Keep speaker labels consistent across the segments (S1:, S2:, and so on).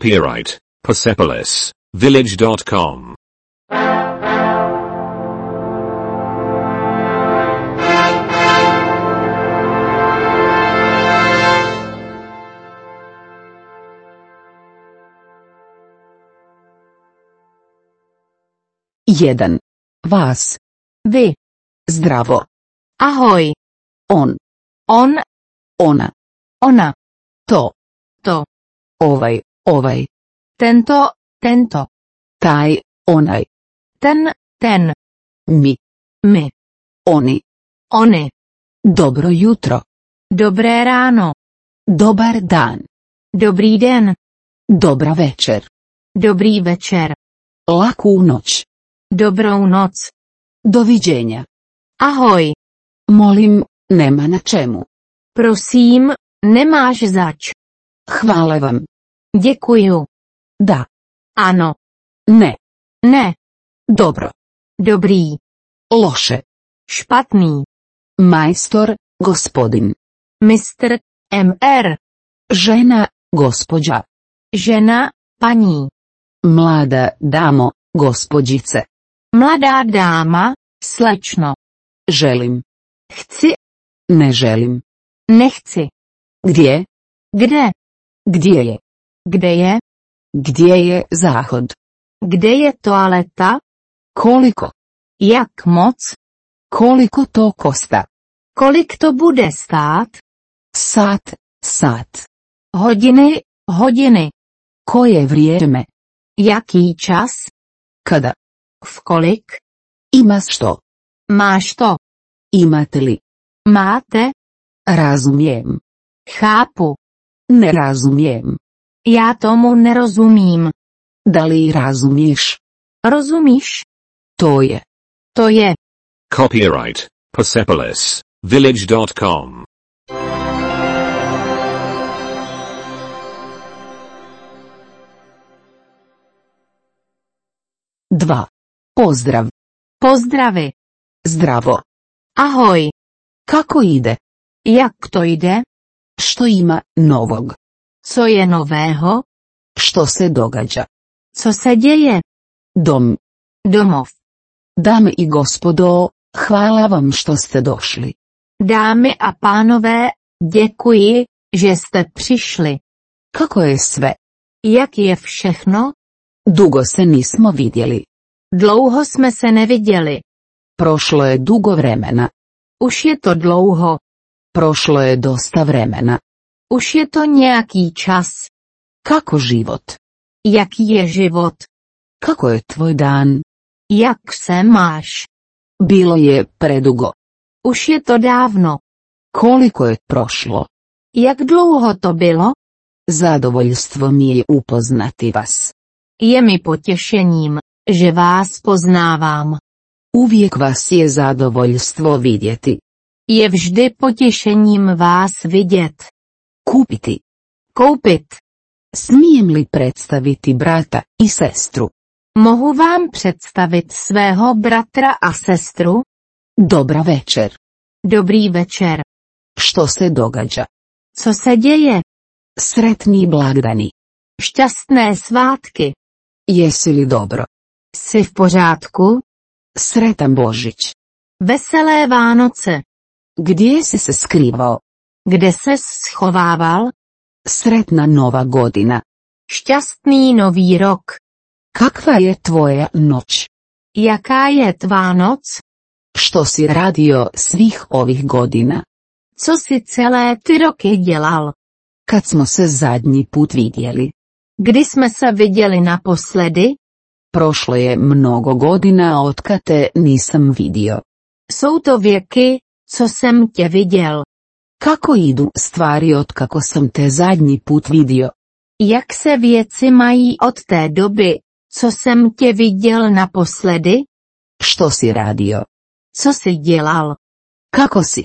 S1: Copyright Persepolis Village.com.
S2: Jedan. Vas. V. Zdravo.
S3: Ahoj.
S2: On.
S3: On,
S2: Ona.
S3: ona.
S2: To.
S3: To.
S2: Ovaj. Ovaj.
S3: Tento, tento.
S2: Taj. Onaj.
S3: Ten, ten.
S2: Mi.
S3: My.
S2: Oni.
S3: One.
S2: Dobro jutro.
S3: Dobré ráno.
S2: Dobar dan.
S3: Dobrý den.
S2: Dobra večer.
S3: Dobrý večer.
S2: Laku noć.
S3: Dobrou noc.
S2: Doviđenja.
S3: Ahoj.
S2: Molim, nema na čemu.
S3: Prosím, nemáš zač.
S2: Hvala vam.
S3: Děkuju.
S2: Da.
S3: Ano.
S2: Ne.
S3: Ne.
S2: Dobro.
S3: Dobrý.
S2: Loše.
S3: Špatný.
S2: Majstor, gospodin.
S3: Mistr. MR.
S2: Žena, gospođa.
S3: Žena, paní.
S2: Mlada damo, gospođice.
S3: Mladá dáma, slečno.
S2: Želim.
S3: Chci,
S2: Ne želim.
S3: nechci.
S2: Gdje?
S3: Kde?
S2: Gdje je?
S3: Kde je?
S2: Gdje je zahod?
S3: Kde je toaleta?
S2: Koliko?
S3: Jak moc?
S2: Koliko to kosta?
S3: Kolik to bude stát?
S2: Sat, sat.
S3: Hodiny, hodiny.
S2: Koje vrijeme?
S3: Jaký čas?
S2: Kada?
S3: V kolik?
S2: Ima što?
S3: Máš to?
S2: Imate li?
S3: Máte?
S2: Razumijem.
S3: Chápu.
S2: Ne razumijem.
S3: Já tomu nerozumím.
S2: Da li razumiješ?
S3: Rozumíš?
S2: To je.
S3: To je.
S1: Copyright Persepolis Village.com.
S2: Dva. Pozdrav.
S3: Pozdravy.
S2: Zdravo.
S3: Ahoj.
S2: Kako ide?
S3: Jak to jde?
S2: Što ima novog?
S3: Co je nového?
S2: Što se događa?
S3: Co se děje?
S2: Dom.
S3: Domov.
S2: Dame i gospodo, hvala vam što ste došli.
S3: Dámy a pánové, děkuji, že jste přišli.
S2: Kako je sve?
S3: Jak je všechno?
S2: Dugo se nismo vidjeli.
S3: Dlouho jsme se neviděli.
S2: Prošlo je dugo vremena.
S3: Už je to dlouho.
S2: Prošlo je dosta vremena.
S3: Už je to nějaký čas.
S2: Kako život?
S3: Jaký je život?
S2: Kako je tvoj dan?
S3: Jak se máš?
S2: Bilo je predugo.
S3: Už je to dávno.
S2: Koliko je prošlo?
S3: Jak dlouho to bylo?
S2: Zadovoljstvo mi je upoznati vas.
S3: Je mi potěšením, že vás poznávám.
S2: Uvijek vas je zadovoljstvo vidjeti.
S3: Je vždy potěšením vás vidět.
S2: Kupiti.
S3: Koupit.
S2: Smijem li predstaviti brata i sestru?
S3: Mohu vám představit svého bratra a sestru?
S2: Dobra večer.
S3: Dobrý večer.
S2: Što se događa?
S3: Co se děje?
S2: Sretni blagdani.
S3: Šťastné svátky.
S2: Jesi li dobro?
S3: Jsi v pořádku?
S2: Sretan Božić.
S3: Veselé Vánoce.
S2: Gdje si se skrivao?
S3: Kde se schovával?
S2: Sretna nova godina.
S3: Šťastný nový rok.
S2: Kakva je tvoja noć?
S3: Jaká je tvá noc?
S2: Što si radio svih ovih godina?
S3: Co si celé ty roky dělal?
S2: Kad smo se zadnji put vidjeli.
S3: Kdy jsme se viděli naposledy?
S2: Prošlo je mnogo godina od kad te nisam vidio.
S3: Jsou to věky, co jsem tě viděl.
S2: Kako idu stvari od kako sam te zadnji put vidio?
S3: Jak se věci mají od té doby, co jsem tě viděl naposledy?
S2: Što si radio?
S3: Co jsi dělal?
S2: Kako si?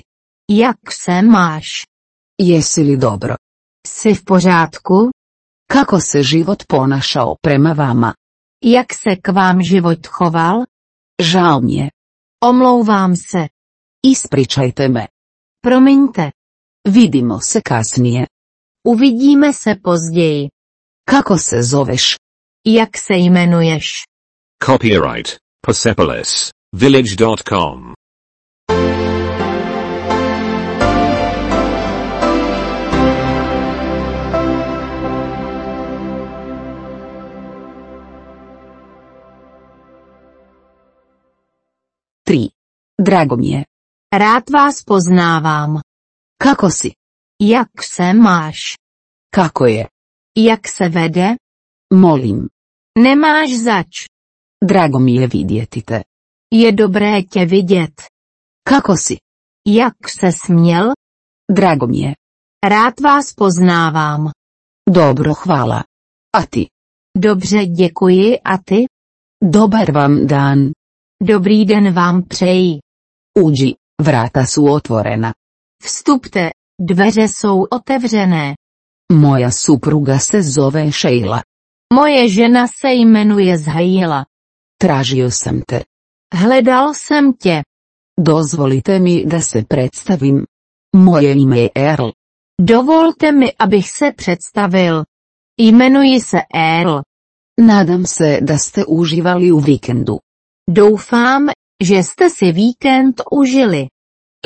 S3: Jak se máš?
S2: Jesi li dobro?
S3: Jsi v pořádku?
S2: Kako se život ponašao prema vama?
S3: Jak se k vám život choval?
S2: Žao mi je.
S3: Omlouvám se.
S2: Ispričajte me.
S3: Promiňte.
S2: Vidimo se kasnije.
S3: Uvidíme se později.
S2: Kako se zoveš?
S3: Jak se jmenuješ?
S1: Copyright Persepolis Village.com.
S2: Tri. Drago mi je.
S3: Rád vás poznávám.
S2: Kako si?
S3: Jak se máš?
S2: Kako je?
S3: Jak se vede?
S2: Molim.
S3: Nemáš zač.
S2: Drago mi je vidjeti te.
S3: Je dobré tě vidět.
S2: Kako si?
S3: Jak se směl?
S2: Drago mi je.
S3: Rád vás poznávám.
S2: Dobro, hvala. A ti?
S3: Dobře, děkuji a ty?
S2: Dobar vam dan.
S3: Dobrý den vám přeji.
S2: Uđi, vrata su otvorena.
S3: Vstupte, dveře jsou otevřené.
S2: Moja supruga se zove Sheila.
S3: Moje žena se jmenuje Zhajila.
S2: Tražio sam te.
S3: Hledal jsem tě.
S2: Dozvolite mi da se predstavim. Moje ime je Earl.
S3: Dovolte mi, abych se představil. Jmenuji se Earl.
S2: Nadam se da ste uživali u vikendu.
S3: Doufám, že jste si víkend užili.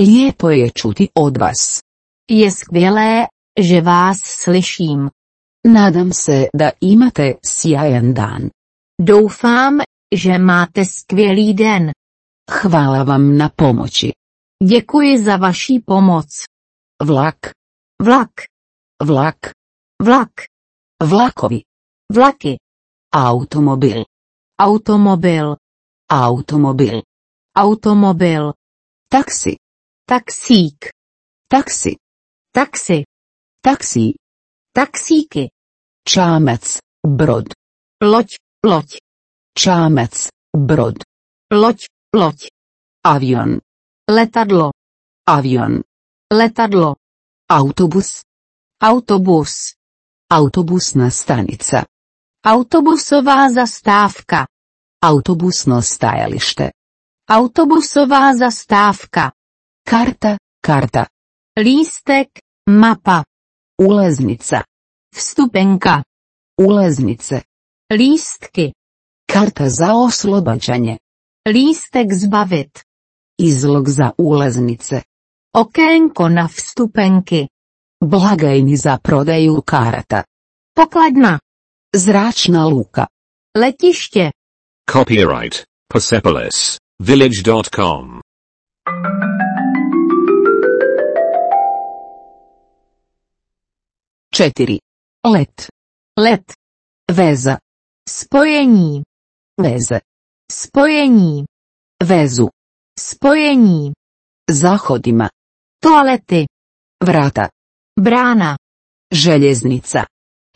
S2: Lijepo je čuti od vas.
S3: Je skvělé, že vás slyším.
S2: Nadam se da imate sjajan dan.
S3: Doufám, že máte skvělý den.
S2: Hvala vam na pomoći.
S3: Děkuji za vaší pomoc.
S2: Vlak,
S3: Vlak,
S2: vlak,
S3: vlak,
S2: vlakovi,
S3: vlaky,
S2: automobil,
S3: automobil,
S2: automobil,
S3: automobil,
S2: taksi,
S3: taxík,
S2: taksi,
S3: taxi,
S2: taksi,
S3: taxíky,
S2: čamac, brod,
S3: loď, loď,
S2: čamac, brod,
S3: loď, loď,
S2: avion,
S3: letadlo,
S2: avion,
S3: letadlo,
S2: autobus,
S3: autobus,
S2: autobusna stanica,
S3: autobusová zastávka,
S2: autobusno stajalište,
S3: autobusová zastávka,
S2: karta, karta,
S3: lístek, mapa,
S2: ulaznica,
S3: vstupenka,
S2: ulaznice,
S3: lístky,
S2: karta za oslobađanje,
S3: lístek zbavit,
S2: izlog za ulaznice,
S3: okénko na vstupenky,
S2: blagajni za prodaju karata,
S3: pokladna,
S2: zračna luka,
S3: letiště,
S1: Copyright Persepolis Village.com.
S2: četiri, let,
S3: let,
S2: veza,
S3: spojení,
S2: veze,
S3: spojení,
S2: vezu,
S3: spojení,
S2: zahodima,
S3: toalety,
S2: vrata,
S3: brána,
S2: željeznica,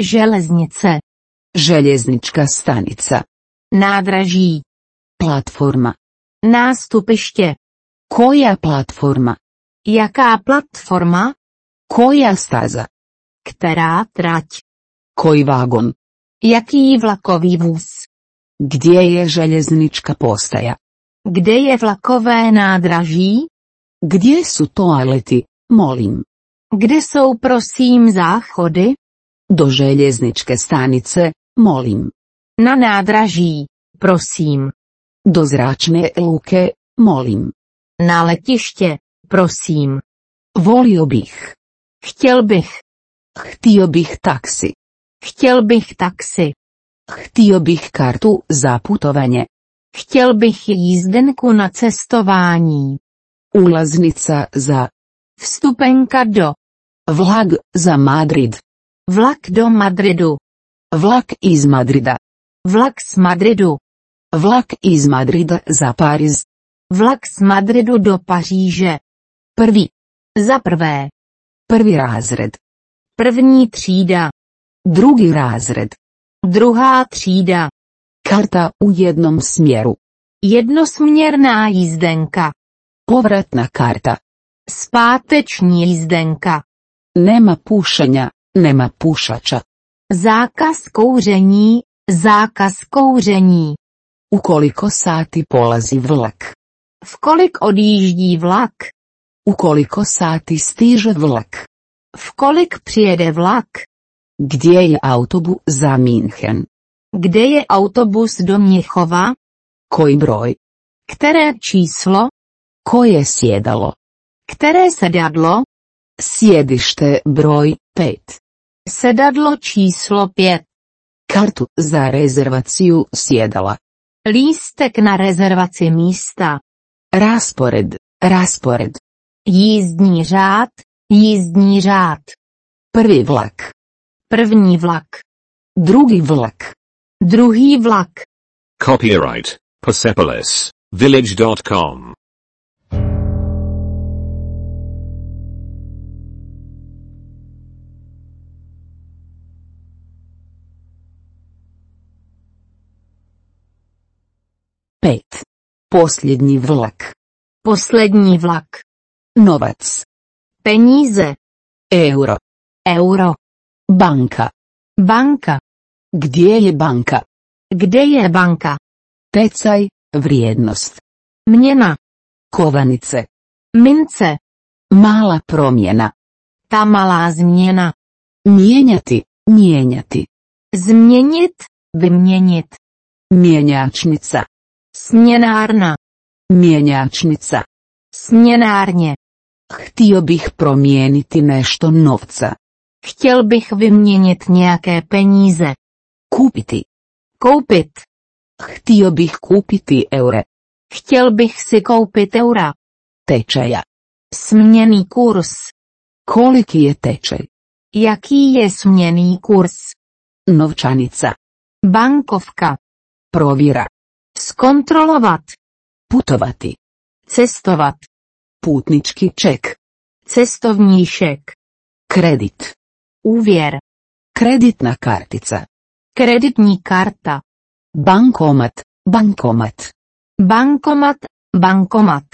S3: železnice,
S2: željeznička stanica,
S3: nádraží,
S2: platforma,
S3: nástupiště,
S2: koja platforma,
S3: jaká platforma,
S2: koja staza,
S3: která trať,
S2: koji vagon,
S3: jaký vlakový vůz,
S2: gdje je željeznička postaja,
S3: kde je vlakové nádraží,
S2: gdje su toaleti, molim,
S3: kde jsou prosím záchody,
S2: do željezničke stanice, molim,
S3: na nádraží, prosím,
S2: do zračne luke, molim,
S3: na letiště, prosím,
S2: volio bih,
S3: chtěl bych,
S2: htio bih taksi,
S3: chtěl bych taxi,
S2: htio bih kartu za putovanje,
S3: chtěl bych jízdenku na cestování,
S2: ulaznica za
S3: vstupenka do,
S2: Vlag za Madrid.
S3: vlak do Madridu,
S2: Vlak iz Madrida.
S3: vlak z Madridu,
S2: Vlak iz Madrida za Pariz.
S3: vlak z Madridu do Paříže,
S2: Prvi,
S3: za prvé,
S2: prvi razred.
S3: první třída,
S2: Drugi razred.
S3: druhá třída,
S2: Karta u jednom smjeru.
S3: jednosměrná jízdenka,
S2: Povratna karta.
S3: zpáteční jízdenka,
S2: Nema pušenja, nema pušača.
S3: zákaz kouření, zákaz kouření,
S2: U koliko sati polazi vlak?
S3: v kolik odjíždí vlak,
S2: U koliko sati stiže vlak?
S3: v kolik přijede vlak,
S2: Gdje je autobus za Minhen?
S3: Kde je autobus do Měchova?
S2: Koji broj?
S3: Které číslo?
S2: Koje sjedalo?
S3: Které sedadlo?
S2: Sjedište broj 5.
S3: Sedadlo číslo 5.
S2: Kartu za rezervaciju sjedala.
S3: Lístek na rezervaci místa.
S2: Raspored, raspored.
S3: Jízdní řád. Jízdní řád.
S2: Prvi vlak,
S3: První vlak.
S2: drugi vlak.
S3: Druhý vlak.
S1: Copyright Persepolis Village.com.
S2: Pet. Posljednji vlak.
S3: Poslední vlak.
S2: Novac.
S3: Peníze.
S2: Euro.
S3: Euro.
S2: Banka.
S3: Banka.
S2: Gdje je banka?
S3: Kde je banka?
S2: Tecaj, vrijednost.
S3: Měna.
S2: Kovanice.
S3: Mince.
S2: Mala promjena.
S3: Ta malá změna.
S2: Mijenjati, mijenjati.
S3: Změnit. Vyměnit.
S2: Mijenjačnica.
S3: Směnárna.
S2: Mijenjačnica.
S3: Směnárně.
S2: Htio bih promijeniti nešto novca.
S3: Chtěl bych vyměnit nějaké peníze.
S2: Kupiti.
S3: Koupit.
S2: Htio bih kupiti eure.
S3: Chtěl bych si koupit eura.
S2: Tečaja.
S3: Směný kurz.
S2: Koliki je tečaj?
S3: Jaký je směný kurz?
S2: Novčanica.
S3: Bankovka.
S2: Provjera.
S3: Zkontrolovat.
S2: Putovati.
S3: Cestovat.
S2: Putnički ček.
S3: Cestovníšek.
S2: Kredit.
S3: Úvěr.
S2: Kreditna kartica.
S3: Kreditní karta.
S2: Bankomat. Bankomat.
S3: Bankomat. Bankomat.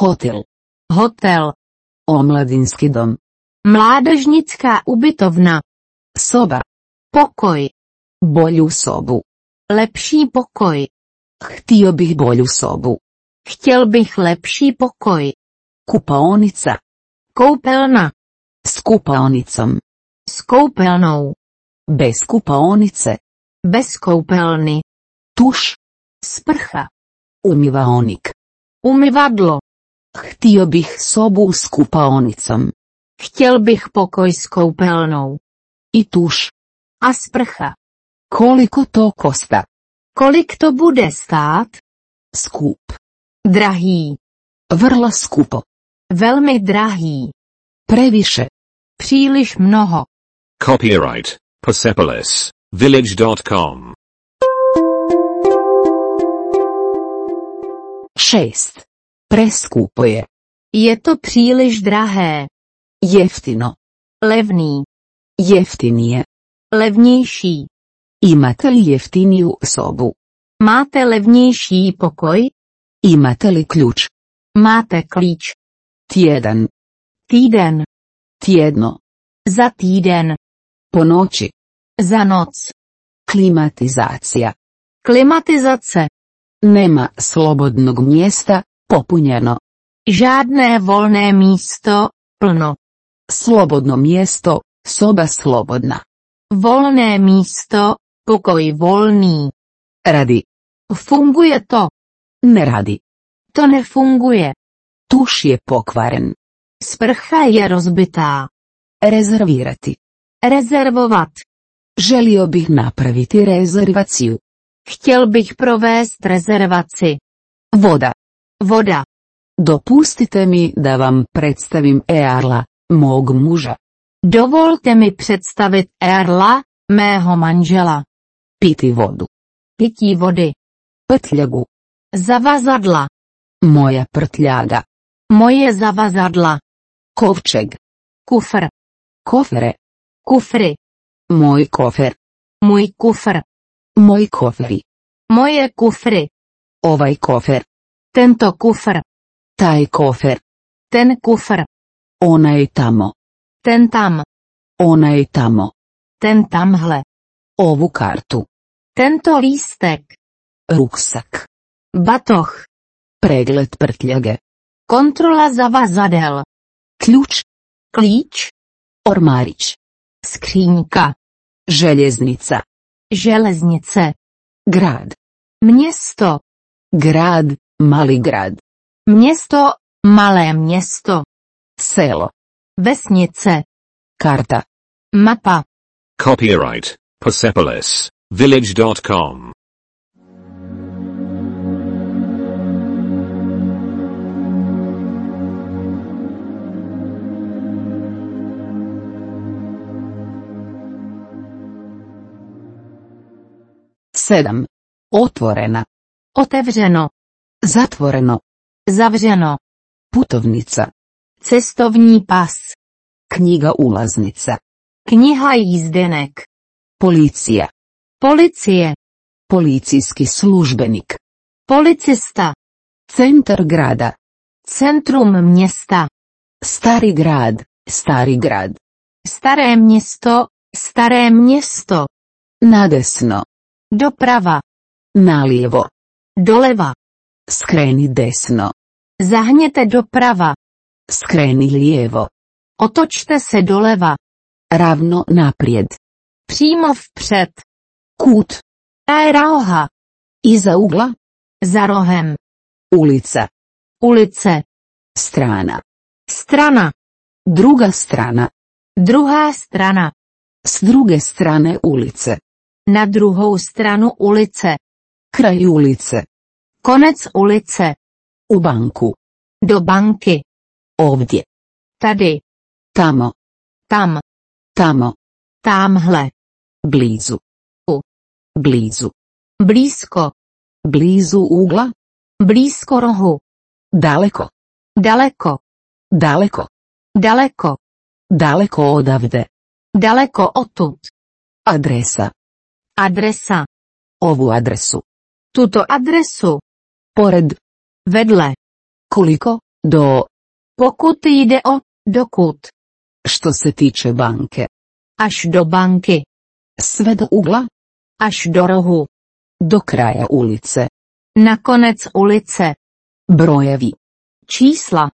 S2: Hotel.
S3: Hotel.
S2: Omladinski dom.
S3: Mládežnická ubytovna.
S2: Soba.
S3: Pokoj.
S2: Bolju sobu.
S3: Lepší pokoj.
S2: Htio bih bolju sobu.
S3: Chtěl bych lepší pokoj.
S2: Kupaonica.
S3: Koupelna.
S2: S kupaonicom.
S3: S koupelnou.
S2: Bez kupaonice.
S3: Bez koupelny.
S2: Tuš.
S3: Sprcha.
S2: Umivaonik.
S3: Umyvadlo.
S2: Htio bih sobu s kupaonicom.
S3: Chtěl bych pokoj s koupelnou.
S2: I tuš.
S3: A sprcha.
S2: Koliko to kosta?
S3: Kolik to bude stát?
S2: Skup.
S3: Drahý.
S2: Vrla skupo.
S3: Velmi drahý.
S2: Previše.
S3: Příliš mnoho.
S1: Copyright Persepolis Village.com.
S2: 6. Preskupo je.
S3: Je to příliš drahé.
S2: Jeftino.
S3: Levný.
S2: Jeftinije.
S3: Levnější.
S2: Imate li jeftiniju sobu?
S3: Máte levnější pokoj?
S2: Imate li ključ?
S3: Máte klíč.
S2: Tjedan.
S3: Týden.
S2: Tjedno.
S3: Za týden.
S2: Po noći.
S3: Za noc.
S2: Klimatizacija.
S3: Klimatizace.
S2: Nema slobodnog mjesta, popunjeno.
S3: Žádné volné místo. Plno.
S2: Slobodno mjesto, soba slobodna.
S3: Volné místo. Pokoj volný.
S2: Radi.
S3: Funguje to.
S2: Ne radi.
S3: To nefunguje.
S2: Tuš je pokvaren.
S3: Sprcha je rozbitá.
S2: Rezervirati.
S3: Rezervovat.
S2: Želio bih napraviti rezervaciju.
S3: Chtěl bych provést rezervaci.
S2: Voda.
S3: Voda.
S2: Dopustite mi da vam predstavim Earla, mog muža.
S3: Dovolte mi představit Erla, mého manžela.
S2: Piti vodu.
S3: Pití vody.
S2: Prtljagu.
S3: Zavazadla.
S2: Moja prtljaga.
S3: Moje zavazadla.
S2: Kovčeg.
S3: Kufr.
S2: Kofere.
S3: Kufry.
S2: Moj kofer.
S3: Můj kufr.
S2: Moj koferi.
S3: Moje kufry.
S2: Ovaj kofer.
S3: Tento kufr.
S2: Taj kofer.
S3: Ten kufr.
S2: Ona je tamo.
S3: Ten tam.
S2: Ona je tamo.
S3: Ten tamhle.
S2: Ovu kartu.
S3: Tento lístek.
S2: Ruksak.
S3: Batoh.
S2: Pregled prtljage.
S3: Kontrola zavazadel.
S2: Ključ.
S3: Klíč.
S2: Ormarić.
S3: Skřínka.
S2: Željeznica.
S3: Železnice.
S2: Grad.
S3: Město.
S2: Grad, mali grad.
S3: Město. Malé město.
S2: Selo.
S3: Vesnice.
S2: Karta.
S3: Mapa.
S1: Copyright Persepolis Village.com.
S2: Sedam. Otvorena.
S3: Otevřeno.
S2: Zatvoreno.
S3: Zavřeno.
S2: Putovnica.
S3: Cestovní pas.
S2: Knjiga ulaznica.
S3: Kniha jízdenek.
S2: Policija.
S3: Policie.
S2: Policijski službenik.
S3: Policista.
S2: Centar grada.
S3: Centrum města.
S2: Stari grad. Stari grad.
S3: Staré město. Staré město.
S2: Nadesno.
S3: Doprava.
S2: Nalijevo.
S3: Doleva.
S2: Skreni desno.
S3: Zahněte doprava.
S2: Skreni lijevo.
S3: Otočte se doleva.
S2: Ravno naprijed.
S3: Přímo vpřed.
S2: Kut.
S3: Aeroha.
S2: Iza ugla.
S3: Za rohem.
S2: Ulica.
S3: Ulice.
S2: Strana.
S3: Strana.
S2: Druga strana.
S3: Druhá strana.
S2: S druge strane ulice.
S3: Na druhou stranu ulice.
S2: Kraj ulice.
S3: Konec ulice.
S2: U banku.
S3: Do banky.
S2: Ovdje.
S3: Tady.
S2: Tamo.
S3: Tam.
S2: Tamo.
S3: Tamhle.
S2: Blizu.
S3: U.
S2: Blizu.
S3: Blízko.
S2: Blizu ugla.
S3: Blízko rohu.
S2: Daleko.
S3: Daleko.
S2: Daleko.
S3: Daleko.
S2: Daleko odavde.
S3: Daleko odtud.
S2: Adresa.
S3: Adresa.
S2: Ovu adresu.
S3: Tuto adresu.
S2: Pored.
S3: Vedle.
S2: Koliko? Do.
S3: Pokud jde o, dokud,
S2: Što se tiče banke.
S3: až do banky,
S2: Sve do ugla.
S3: až do rohu,
S2: Do kraja ulice.
S3: na konec ulice,
S2: Brojevi.
S3: čísla,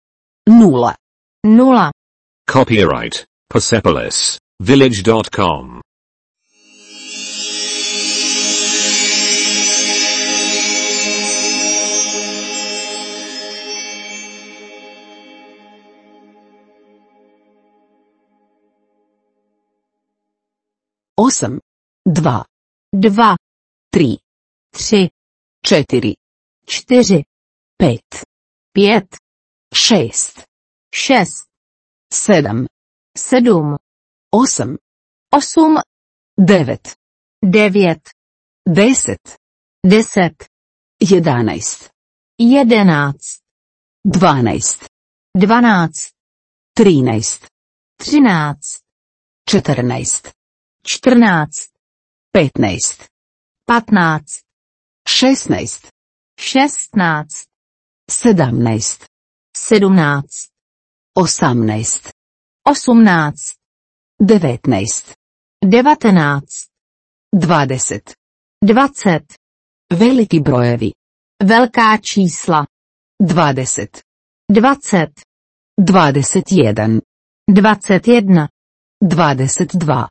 S2: Nula.
S3: nula,
S1: Copyright Persepolis Village.com.
S2: Osam. Dva.
S3: dva,
S2: Tri.
S3: tři,
S2: Četiri.
S3: čtyři,
S2: Pet.
S3: pět,
S2: Šest.
S3: šest,
S2: Sedam.
S3: sedm,
S2: Osam.
S3: osm,
S2: Devet.
S3: devět,
S2: Deset.
S3: deset,
S2: Jedanaest.
S3: jedenáct,
S2: Dvanaest.
S3: dvanáct,
S2: Trinaest.
S3: třináct,
S2: Četrnaest.
S3: čtrnáct,
S2: Petnaest.
S3: patnáct,
S2: Šestnaest.
S3: šestnáct,
S2: Sedamnaest.
S3: sedmnáct,
S2: Osamnaest.
S3: osmnáct,
S2: Devetnaest.
S3: devatenáct,
S2: Dvadeset.
S3: dvacet,
S2: Veliki brojevi.
S3: Velká čísla.
S2: Dvadeset.
S3: 20,
S2: Dvadeset jedan.
S3: 21,
S2: Dvadeset dva.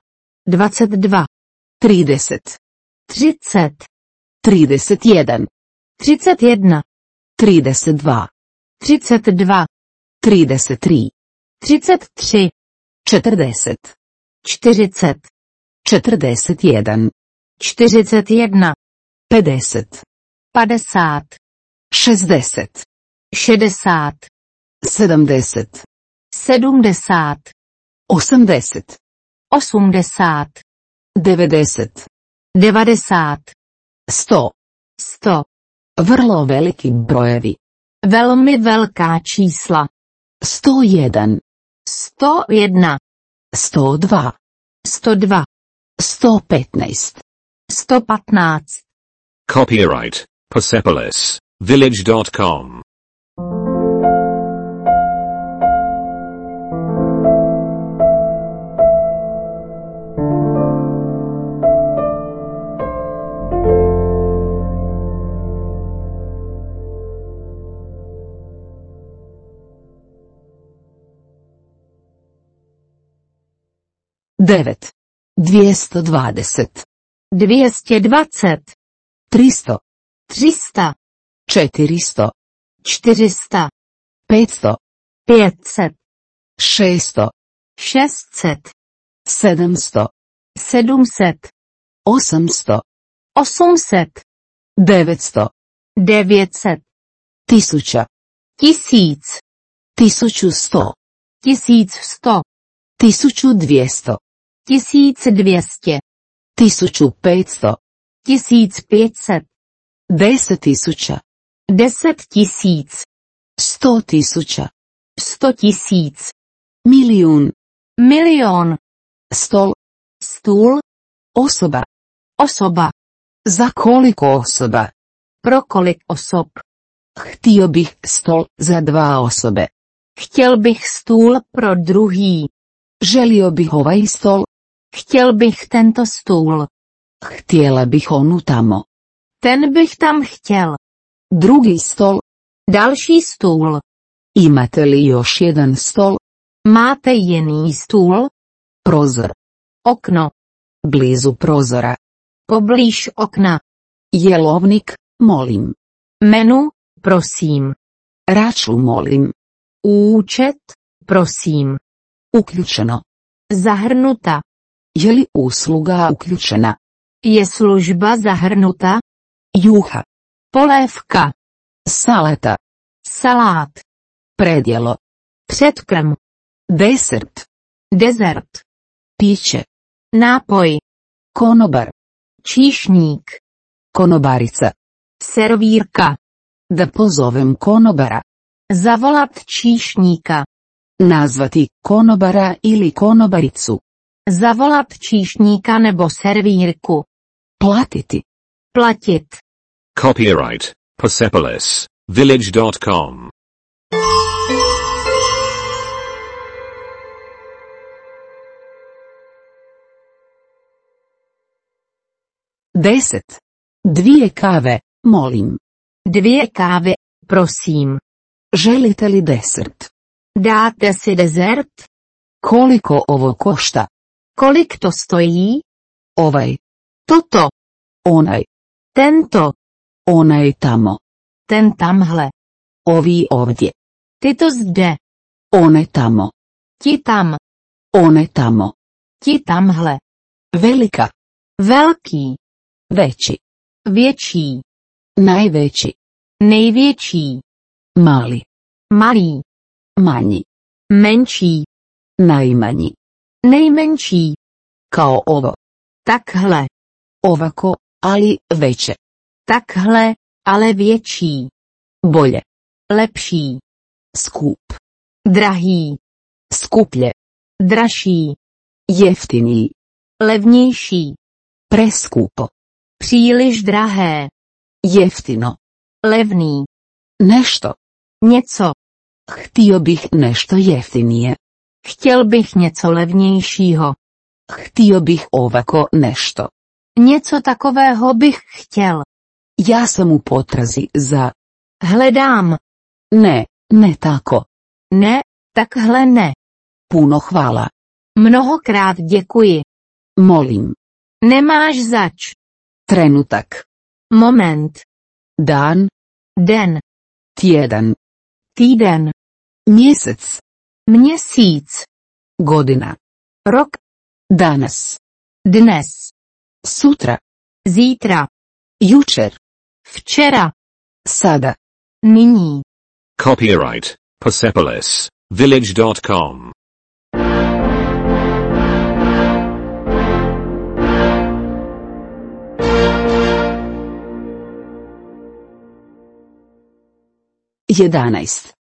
S3: 22,
S2: Trideset.
S3: 30,
S2: Trideset jedan.
S3: 31,
S2: Trideset dva.
S3: 32,
S2: Trideset tri.
S3: 33,
S2: Četrdeset.
S3: 40,
S2: Četrdeset jedan.
S3: 41,
S2: Pedeset.
S3: 50,
S2: Šestdeset.
S3: 60,
S2: Sedamdeset.
S3: 70,
S2: Osamdeset.
S3: 80,
S2: Devedeset.
S3: 90,
S2: Sto.
S3: 100.
S2: Vrlo veliki brojevi.
S3: Velmi velká čísla.
S2: Sto jedan.
S3: 101,
S2: Sto dva.
S3: 102,
S2: Sto petnaest.
S3: 115.
S1: Copyright Persepolis Village.com.
S2: 9. 220.
S3: 220,
S2: 300.
S3: 300,
S2: 400.
S3: 400,
S2: 500.
S3: 500,
S2: 600.
S3: 600,
S2: 700.
S3: 700,
S2: 800.
S3: 800,
S2: 900.
S3: 900,
S2: 1000.
S3: 1000,
S2: 1100.
S3: 1100,
S2: 1200.
S3: 1200,
S2: 1500.
S3: 1500,
S2: 10 tisuća.
S3: 10 tisíc,
S2: 100 tisuća.
S3: 100 tisíc,
S2: Milijun.
S3: milion,
S2: Stol.
S3: stůl,
S2: Osoba.
S3: osoba,
S2: Za koliko osoba?
S3: pro kolik osob.
S2: Htio bih stol za dva osobe.
S3: Chtěl bych stůl pro druhý.
S2: Želio bih ovaj stol.
S3: Chtěl bych tento stůl.
S2: Htjela bih onu tamo.
S3: Ten bych tam chtěl.
S2: Drugi stol.
S3: Další stůl.
S2: Imate li još jedan stol?
S3: Máte jiný stůl?
S2: Prozor.
S3: Okno.
S2: Blizu prozora.
S3: Poblíž okna.
S2: Jelovnik, molim.
S3: Menu, prosím.
S2: Račun molim.
S3: Účet, prosím.
S2: Uključeno.
S3: Zahrnuta.
S2: Je li usluga uključena?
S3: Je služba zahrnuta?
S2: Juha.
S3: Polévka.
S2: Salata.
S3: Salát.
S2: Predjelo.
S3: Předkrm.
S2: Desert.
S3: Dezert.
S2: Piće.
S3: Nápoj.
S2: Konobar.
S3: Číšník.
S2: Konobarica.
S3: Servírka.
S2: Da pozovem konobara.
S3: Zavolat číšníka.
S2: Nazvati konobara ili konobaricu.
S3: Zavolat číšníka nebo servírku.
S2: Platiti.
S3: Platit.
S1: Copyright Persepolis Village.com.
S2: Deset. Dvije kave, molim.
S3: Dvě kávy, prosím.
S2: Želite li desert?
S3: Dáte si dezert?
S2: Koliko ovo košta?
S3: Kolik to stojí?
S2: Ovaj,
S3: Toto,
S2: onaj,
S3: tento,
S2: onaj tamo,
S3: ten tamhle,
S2: ovi ovdje,
S3: ty to zde,
S2: one tamo,
S3: ti tam,
S2: one tamo.
S3: ti tamhle,
S2: Velika,
S3: velký,
S2: veći,
S3: větší,
S2: najveći,
S3: největší,
S2: mali,
S3: malý,
S2: manji,
S3: menší,
S2: najmanji,
S3: nejmenší,
S2: kao ovo,
S3: takhle,
S2: ovako, ali veće,
S3: takhle, ale větší,
S2: bolje,
S3: lepší,
S2: skup,
S3: drahý,
S2: skuplje,
S3: dražší,
S2: jeftiniji,
S3: levnější,
S2: preskupo,
S3: příliš drahé,
S2: jeftino,
S3: levný,
S2: nešto.
S3: něco.
S2: Htio bih nešto jeftinije.
S3: Chtěl bych něco levnějšího.
S2: Htio bih ovako nešto.
S3: Něco takového bych chtěl.
S2: Ja sam u potrazi za...
S3: Hledám.
S2: Ne, ne tako.
S3: Ne, takhle ne.
S2: Puno hvala.
S3: Mnohokrát děkuji.
S2: Molim.
S3: Nemáš zač.
S2: Trenutak.
S3: Moment.
S2: Dan,
S3: Den.
S2: tjedan,
S3: Týden.
S2: mjesec,
S3: Měsíc.
S2: godina,
S3: Rok.
S2: danas,
S3: Dnes.
S2: sutra,
S3: Zítra.
S2: jučer,
S3: Včera.
S2: sada.
S3: Nyní.
S1: Copyright Persepolis Village.com.
S2: Jedanaest.